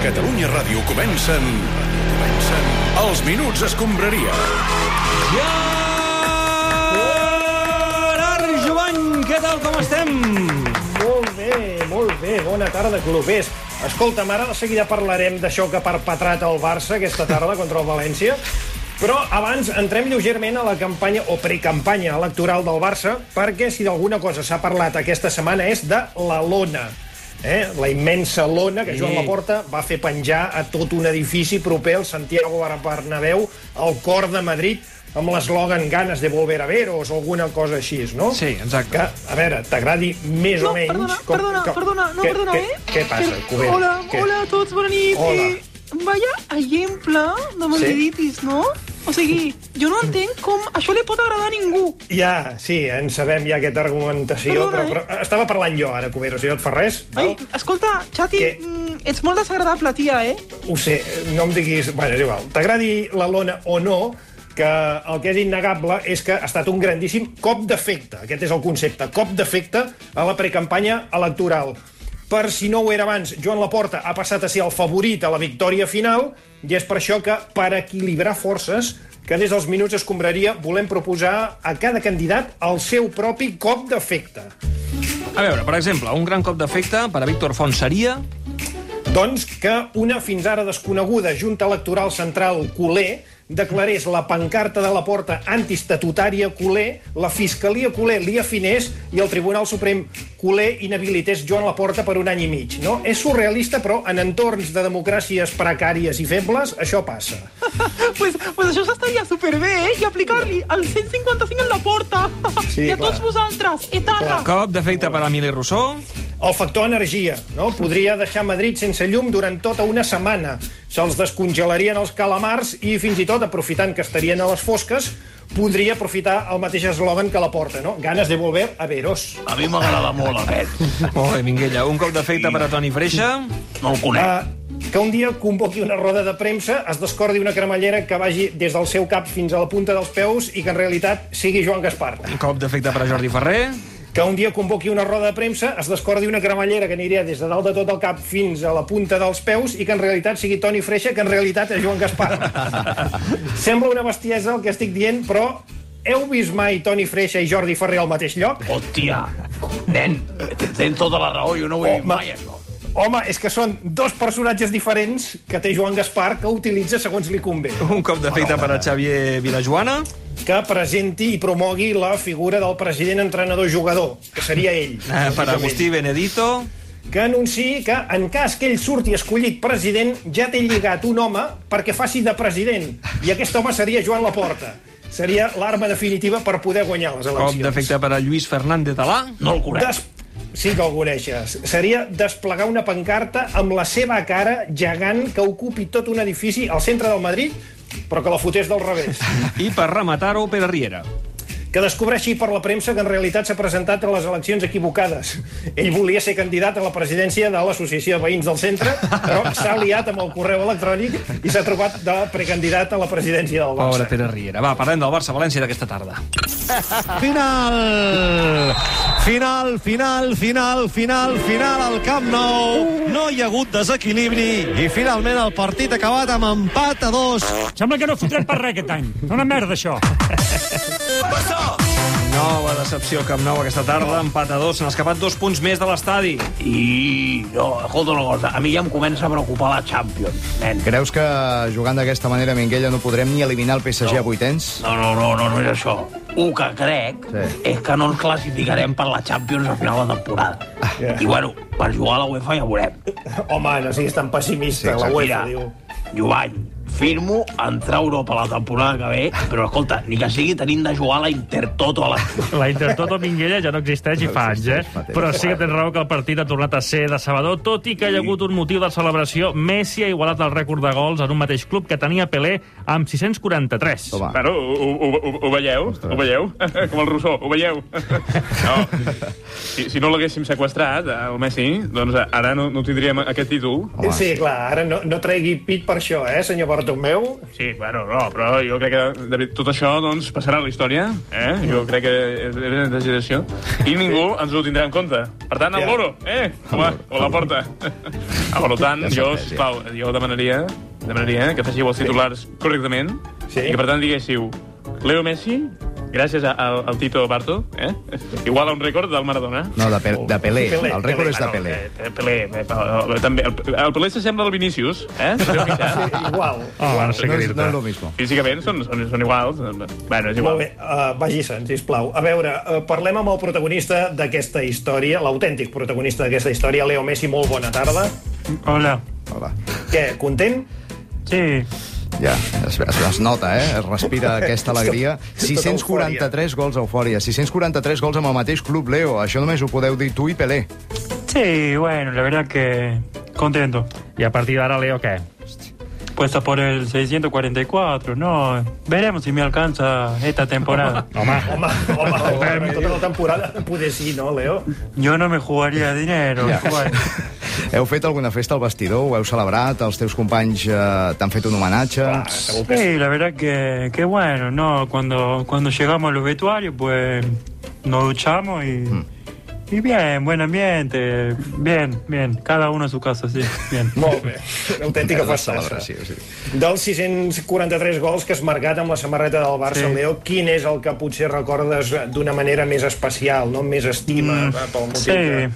Catalunya Ràdio comencen... comencen els Minuts Escombraria. Gerard Jovany, què tal, com estem? Molt bé, molt bé. Bona tarda, clubers. Escolta'm, ara de seguida parlarem d'això que ha perpetrat el Barça aquesta tarda contra el València. Però abans entrem lleugerment a la campanya o precampanya electoral del Barça, perquè si d'alguna cosa s'ha parlat aquesta setmana és de la lona. Eh? La immensa lona que Joan Sí. Laporta va fer penjar a tot un edifici proper al Santiago Bernabéu, al cor de Madrid, amb l'eslògan ganes de volver a veros o alguna cosa així, no? Sí, exacte. Que, a veure, t'agradi més o No, menys... perdona, perdona, perdona, no, què, perdona, què, eh? Què passa, Per- Cubera? Hola, Què? hola a tots, bona nit. Hola. Eh, vaya exemple de madriditis, no? O sigui, jo no entenc com això li pot agradar a ningú. Ja, sí, en sabem ja aquesta argumentació, Perdona, eh? però, però estava parlant jo ara, Cubera, si no et fa res. Ai, val? escolta, Xati, Què? mm, ets molt desagradable, tia, eh? Ho sé, no em diguis... Bueno, és igual. T'agradi la lona o no, que el que és innegable és que ha estat un grandíssim cop d'efecte. Aquest és el concepte, cop d'efecte a la precampanya electoral. Per si no ho era abans, Joan Laporta ha passat a ser el favorit a la victòria final i és per això que, per equilibrar forces, que des dels minuts escombraria volem proposar a cada candidat el seu propi cop d'efecte. A veure, per exemple, un gran cop d'efecte per a Víctor Font seria... Doncs que una fins ara desconeguda Junta Electoral Central culer declarés la pancarta de la porta antiestatutària culer, la Fiscalia culer li afinés i el Tribunal Suprem culer inhabilités Joan Laporta per un any i mig. No? És surrealista, però en entorns de democràcies precàries i febles, això passa. Pues, pues això s'estaria superbé, eh? I aplicar-li el 155 en la porta. Sí, I a clar. tots vosaltres, etarra. Cop d'efecte per a Emili Rousseau... El factor energia, no? Podria deixar Madrid sense llum durant tota una setmana. Se'ls descongelarien els calamars i fins i tot, aprofitant que estarien a les fosques, podria aprofitar el mateix eslògan que la porta, no? Ganes de volver a veros. A mi m'agrada molt aquest. Oh, Minguella, un cop d'efecte per a Toni Freixa... No el conec. Uh, que un dia convoqui una roda de premsa, es descordi una cremallera que vagi des del seu cap fins a la punta dels peus i que en realitat sigui Joan Gaspar. Un cop d'efecte per a Jordi Ferrer... que un dia convoqui una roda de premsa, es descordi una cremallera que aniria des de dalt de tot el cap fins a la punta dels peus i que en realitat sigui Toni Freixa, que en realitat és Joan Gaspar. Sembla una bestiesa el que estic dient, però heu vist mai Toni Freixa i Jordi Ferrer al mateix lloc? Hòstia, nen, tens tota la raó, jo no ho he vist mai, això. Home, és que són dos personatges diferents que té Joan Gaspar que utilitza segons li convé. Un cop d'efecte per a Xavier eh, Vilajoana... Que presenti i promogui la figura del president entrenador-jugador, que seria ell. eh, Per a Agustí Benedito... que anunciï que, en cas que ell surti escollit president, ja té lligat un home perquè faci de president. I aquest home seria Joan Laporta. Seria l'arma definitiva per poder guanyar les Cop eleccions. d'efecte per a Lluís Fernández Alà... No el conec. Des... Sí que el coneixes. Seria desplegar una pancarta amb la seva cara gegant que ocupi tot un edifici al centre del Madrid, però que la fotés del revés. I per rematar-ho, Pere Riera. que descobreixi per la premsa que en realitat s'ha presentat a les eleccions equivocades. Ell volia ser candidat a la presidència de l'Associació de Veïns del Centre, però s'ha liat amb el correu electrònic i s'ha trobat de precandidat a la presidència del Barça. Pobre Pere Riera. Va, parlem del Barça-València d'aquesta tarda. Final! Final, final, final, final, final al Camp Nou. No hi ha hagut desequilibri i finalment el partit ha acabat amb empat a dos. Sembla que no fotrem per res aquest any. Una merda, això. Nova decepció al Camp Nou aquesta tarda, empat a dos, s'han escapat dos punts més de l'estadi. I no, escolta una cosa, a mi ja em comença a preocupar la Champions, nen. Creus que jugant d'aquesta manera, Minguella, no podrem ni eliminar el PSG no. a vuitens? No, no, no, no, no és això. Un que crec sí. Sí. és que no ens classificarem per la Champions a final de temporada. Ja. I bueno, per jugar a la UEFA ja veurem. Home, no siguis tan pessimista, Sí, la UEFA, Mira, diu. Jovany, firmo entrar a Europa la temporada que ve, però escolta, ni que sigui tenint de jugar a la Intertoto a la... La Intertoto Minguella ja no existeix i fa anys, eh? existeix, Mateu. Però sí que tens raó que el partit ha tornat a ser de Sabador, tot i que hi ha hagut un motiu de celebració. Messi ha igualat el rècord de gols en un mateix club que tenia Pelé amb 643. Toma. Claro, ho, ho, ho, ho veieu? Ho veieu? Com el Rousseau, ho veieu? No. Si, si no l'haguéssim sequestrat, eh, el eh, Messi, doncs ara no, no tindríem aquest títol. Sí, clar, ara no, no tregui pit per això, eh, senyor teu meu? Sí, bueno, no, però jo crec que de, tot això doncs, passarà a la història, eh? Jo crec que és una exageració. I ningú ens ho tindrà en compte. Per tant, Ja. el loro, eh? Home, o la porta. Ah, per tant, jo, sisplau, jo demanaria, demanaria eh, que féssiu els titulars correctament i Sí. que, per tant, diguéssiu Leo Messi, gràcies a, al, al Tito Barto, eh? igual a un rècord del Maradona. No, de, pe de Pelé. Pelé, El rècord Pelé, és de Ah, no, Pelé. eh, eh, Pelé, eh, eh, també. El, el Pelé s'assembla al Vinícius, eh? Sí, igual. Oh, ara sé No és, què no dir-te. és lo mismo. Físicament són, són, són iguals. Bueno, és Molt igual. bé, uh, vagi-se'n, sisplau. A veure, uh, parlem amb el protagonista d'aquesta història, l'autèntic protagonista d'aquesta història, Leo Messi, molt bona tarda. Hola. Hola. Què, content? Sí. Ja, es, es, es nota, eh? Es respira aquesta alegria. Tota eufòria. 643 gols a eufòria. 643 gols amb el mateix club, Leo. Això només ho podeu dir tu i Pelé. Sí, bueno, la verdad que contento. I a partir d'ara, Leo, què? Puesta por el 644, no. Veremos si me alcanza esta temporada. Home, home, home tota la temporada poder sí, no, Leo? Yo no me jugaría dinero. Ja. Bueno, Heu fet alguna festa al vestidor? Ho heu celebrat? Els teus companys eh, t'han fet un homenatge? Ah, segur que sí. sí, la verdad que, que bueno, no. Cuando, cuando llegamos a los vestuarios, pues nos duchamos y. Y bien, buen ambiente. Bien, bien. Cada uno a su casa, sí. Bien. Molt bé, autèntica La festassa. celebració, sí. Dels 643 gols que has marcat amb la samarreta del Barça, Sí. Leo, quin és el que potser recordes d'una manera més especial, no? més estima, Mm, eh, pel motiu sí. de,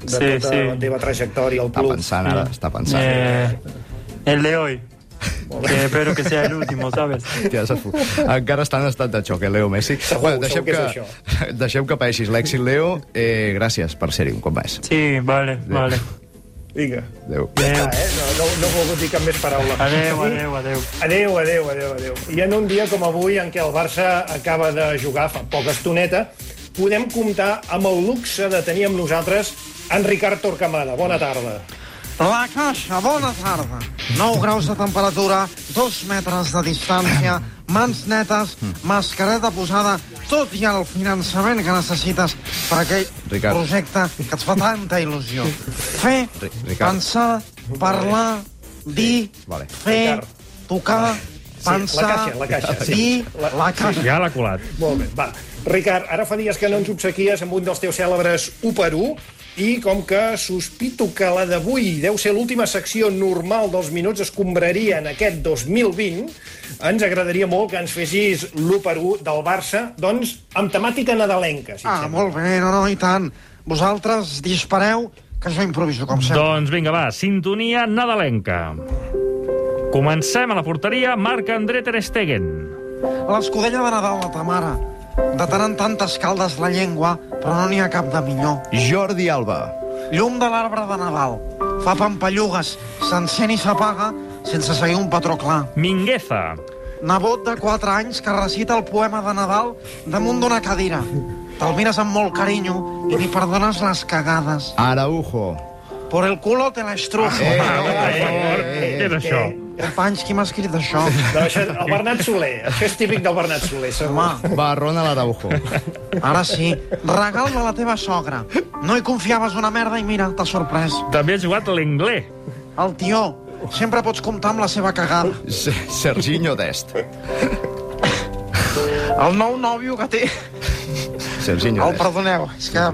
de Sí, tota sí. la teva trajectòria al Està club. pensant ara, està pensant. Eh, el de hoy. Que espero que sea el último, ¿sabes? Ja s'ha fot- Encara està en estat de xoc, eh, Leo Messi. Segur, segur deixem, que és que deixem que paeixis l'èxit, Leo. Eh, gràcies per ser-hi un cop més. Sí, vale, vale. Vinga. Adéu. Adeu. Ah, eh? no, no, no he volgut dir cap més paraula. Adeu, adeu, adeu. Adéu, adéu, adéu, adéu. I en un dia com avui, en què el Barça acaba de jugar fa poca estoneta, podem comptar amb el luxe de tenir amb nosaltres en Ricard Torquemada. Bona tarda. La Caixa, bona tarda. 9 graus de temperatura, 2 metres de distància, mans netes, mascareta posada, tot i el finançament que necessites per aquell Ricard. projecte que et fa tanta il·lusió. Fer, Ri- Ricard. pensar, parlar, dir, vale. fer, Ricard. tocar, la pensar, Caixa, la Caixa, sí. dir, La- la Caixa. Ja l'ha colat. Molt bé, va. Ricard, ara fa dies que no ens obsequies amb un dels teus cèlebres 1 per 1, i com que sospito que la d'avui deu ser l'última secció normal dels minuts escombraria en aquest 2020, ens agradaria molt que ens fessis l'1 per 1 del Barça, doncs amb temàtica nadalenca, si et Ah, sembla. molt bé, no, no, i tant. Vosaltres dispareu, que jo improviso, com sempre. Doncs vinga, va, sintonia nadalenca. Comencem a la porteria, marca André Ter Stegen. L'escudella de Nadal de ta mare. De tant en tant t'escaldes la llengua, però no n'hi ha cap de millor. Jordi Alba. Llum de l'arbre de Nadal. Fa pampallugues, s'encén i s'apaga sense seguir un patró clar. Mingueza. Nebot de 4 anys que recita el poema de Nadal damunt d'una cadira. Te'l mires amb molt carinyo i li perdones les cagades. Araujo. Por el culo te la estrujo. Eh, Ah, Per eh, favor, eh, què eh. és això? Companys, qui m'ha escrit això? No, això, el Bernat Soler, això és típic del Bernat Soler, segur. Home, eh. Barrón a l'Araujo. ara sí. Regal de la teva sogra. No hi confiaves una merda i mira, t'ha sorprès. També ha jugat l'anglès. El tió, sempre pots comptar amb la seva cagada. Se- Serginho Dest. El nou nòvio que té... Serginho Oh, El Dest. perdoneu, és que...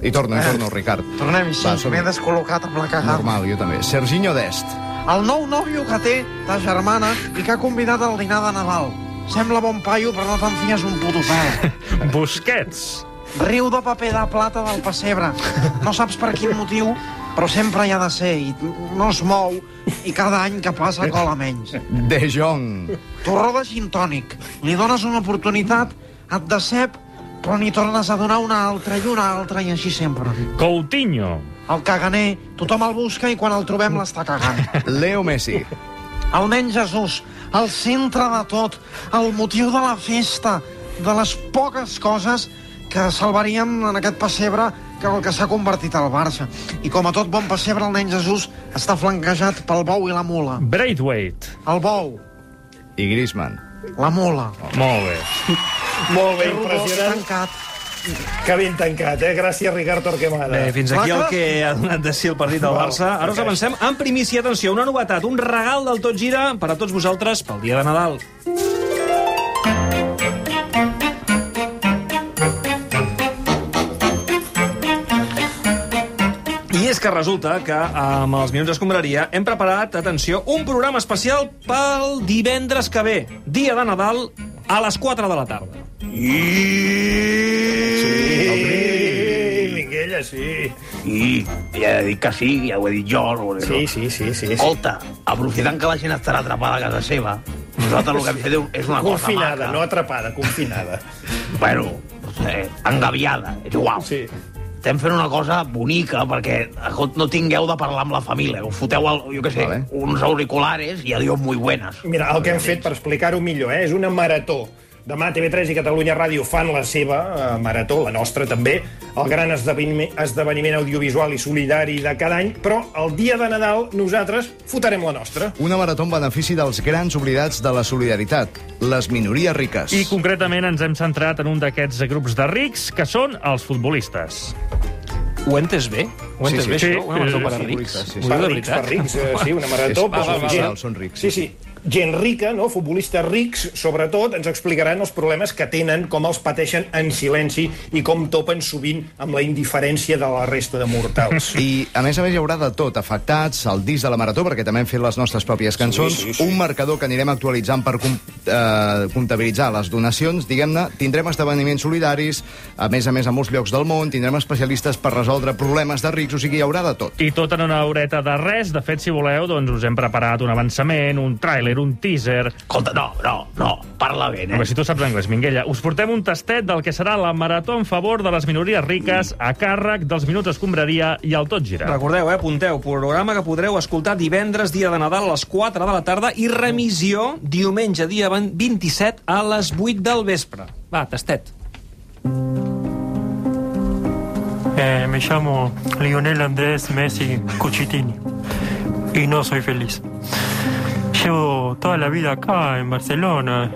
I torno, i torno, Ricard. Tornem-hi, sí, Va, som-hi. m'he descol·locat amb la cagada. Normal, jo també. Serginho Dest. El nou nòvio que té, ta germana, i que ha convidat al dinar de Nadal. Sembla bon paio, però no te'n fies un puto pèl. Busquets. Riu de paper de plata del pessebre. No saps per quin motiu, però sempre hi ha de ser, i no es mou, i cada any que passa cola menys. De Jong. Torró de gin tònic. Li dones una oportunitat, et decep, però n'hi tornes a donar una altra i una altra i així sempre. Coutinho. El caganer, tothom el busca i quan el trobem l'està cagant. Leo Messi. El nen Jesús, el centre de tot, el motiu de la festa, de les poques coses que salvaríem en aquest pessebre que el que s'ha convertit al Barça. I com a tot bon pessebre, el nen Jesús està flanquejat pel bou i la mula. Braithwaite. El bou, I Griezmann. la mula. Molt bé. Molt bé, El gos impressionant. tancat. Que ben tancat, eh? Gràcies, Ricard Torquemada. Bé, fins aquí el que ha donat de si el partit del Barça. Ara us avancem en primícia, atenció, una novetat, un regal del Tot Gira per a tots vosaltres pel dia de Nadal. I és que resulta que amb els Minuts Escombraria hem preparat, atenció, un programa especial pel divendres que ve, dia de Nadal, a les 4 de la tarda. Sí, Minguella, sí. I ja he dit que sí, ja ho he dit jo. No? Sí, sí, sí, sí. Escolta, aprofitant que la gent estarà atrapada a casa seva, nosaltres el que hem fet és una cosa Confinada, maca. no atrapada, confinada. Bueno, no sé, engaviada, és igual. Sí. Estem fent una cosa bonica perquè escolt, no tingueu de parlar amb la família. Us foteu, el, jo què sé, vale. uns auriculares i adiós muy buenas. Mira, el que hem fet, per explicar-ho millor, eh, és una marató. Demà TV3 i Catalunya Ràdio fan la seva eh, marató, la nostra també, el gran esdeveniment, esdeveniment audiovisual i solidari de cada any, però el dia de Nadal nosaltres fotarem la nostra. Una marató en benefici dels grans oblidats de la solidaritat, les minories riques. I concretament ens hem centrat en un d'aquests grups de rics, que són els futbolistes. Ho he entès bé? Ho he entès bé, això? Una marató per a rics? Ho diu de Per rics, veritat? per rics, eh, sí, una marató. És- però va, va, va. gent- Són rics, Sí, sí. Gent rica, no? futbolistes rics, sobretot, ens explicaran els problemes que tenen, com els pateixen en silenci i com topen sovint amb la indiferència de la resta de mortals. I, a més a més, hi haurà de tot. Afectats, el disc de la Marató, perquè també hem fet les nostres pròpies cançons, sí, sí, sí. un marcador que anirem actualitzant per com, eh, comptabilitzar les donacions, diguem-ne, tindrem esdeveniments solidaris, a més a més, a molts llocs del món, tindrem especialistes per resoldre problemes de rics, o sigui, hi haurà de tot. I tot en una horeta de res. De fet, si voleu, doncs us hem preparat un avançament, un tràiler, un teaser... Escolta, no, no, no, parla bé, eh? Si tu saps anglès, Minguella, us portem un tastet del que serà la marató en favor de les minories riques a càrrec dels Minuts Escombraria i el Tot Gira. Recordeu, eh, apunteu, programa que podreu escoltar divendres, dia de Nadal, a les 4 de la tarda i remissió diumenge, dia 27, a les 8 del vespre. Va, tastet. Eh, me llamo Lionel Andrés Messi Cuchitini y no soy feliz. Llevo toda la vida acá en Barcelona,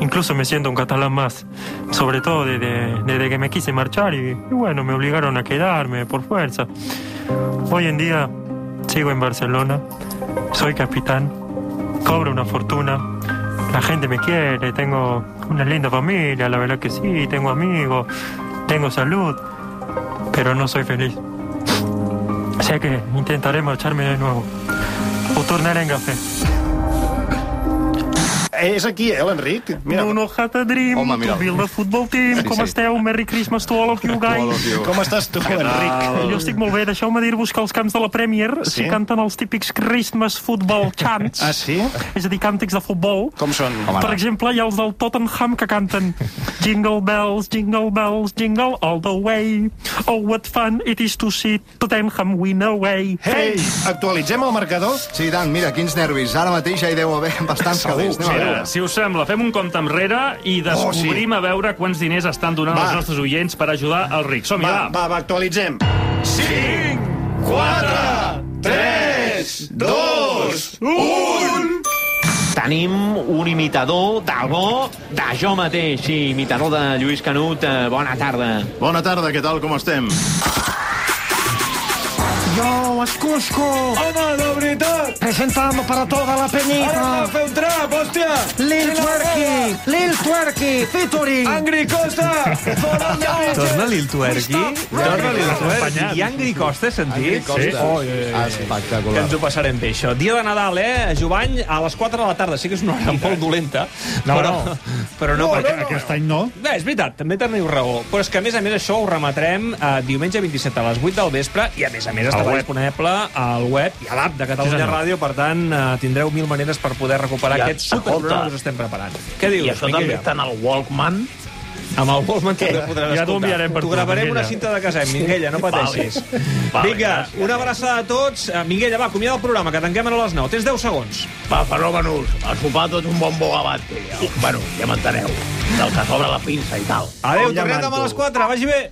incluso me siento un catalán más, sobre todo desde, desde que me quise marchar y, y bueno, me obligaron a quedarme por fuerza. Hoy en día sigo en Barcelona, soy capitán, cobro una fortuna, la gente me quiere, tengo una linda familia, la verdad que sí, tengo amigos, tengo salud pero no soy feliz. Sé que intentaré marcharme de nuevo o tornar en café. És aquí, eh, l'Enric? Mira. Nuno Hata Dream, Home, Home, mira'l. to build a football team. Sí, Sí, Com sí. sí. esteu? Merry Christmas to all of you guys. all of you. Com estàs tu, Què Enric? Ah, tal? Jo estic molt bé. Deixeu-me dir-vos que als camps de la Premier sí? Sí? s'hi canten els típics Christmas football chants. Ah, sí? És a dir, càntics de futbol. Com són? Com per exemple, hi ha els del Tottenham que canten Jingle bells, jingle bells, jingle all the way. Oh, what fun it is to see Tottenham win away. Hey, actualitzem el marcador? Sí, Dan, mira, quins nervis. Ara mateix ja hi deu haver bastants calés. Anem a veure. Mira, si us sembla, fem un compte enrere i descobrim oh, sí. a veure quants diners estan donant Va. els nostres oients per ajudar els rics. Som-hi, va. Va, va, actualitzem. 5, 4, 3, 2, 1... Tenim un imitador del bo de jo mateix, sí, imitador de Lluís Canut. eh, Bona tarda. Bona tarda, què tal, com estem? Jo, es Cusco! Home, de veritat! Presenta'm per a tota la penyita! Home, feu un trap, hòstia! Lil Twerky! Lil Twerky! Featuring! Angry Costa! Torna Lil Twerky. Torna Lil Twerky. I Angry Costa, has sentit? Angry Costa. Oh, eh, eh, eh. Espectacular. Que ens ho passarem bé, això. Dia de Nadal, eh? Jovany, a les 4 de la tarda. Sí que és una hora molt dolenta. No, però, no. Però no, No, perquè... no, no. Aquest any no. Bé, és veritat, també teniu raó. Però és que, a més a més, això ho rematrem eh, diumenge 27 a les 8 del vespre i, a més a més, Al estarà web. disponible al web i a l'app de Sí, Catalunya senyor. Ràdio. Per tant, eh, tindreu mil maneres per poder recuperar Ja, aquest superprograma escolta. que us estem preparant. Què dius, I això també Miquel? està en el Walkman? Amb el Walkman també podràs Ja t'ho escoltar. enviarem per T'ho tu, gravarem Minguella. una cinta de casem, Minguella, no pateixis. Vale, Vinga, una abraçada a tots. Eh, Minguella, va, acomiada el programa, que tanquem ara a les 9. Tens 10 segons. Va, fenòmenos, a sopar tots un bon bogavante. Bueno, ja m'enteneu, del que sobra la pinça i tal. Adéu, tornem demà a les 4. Vagi bé.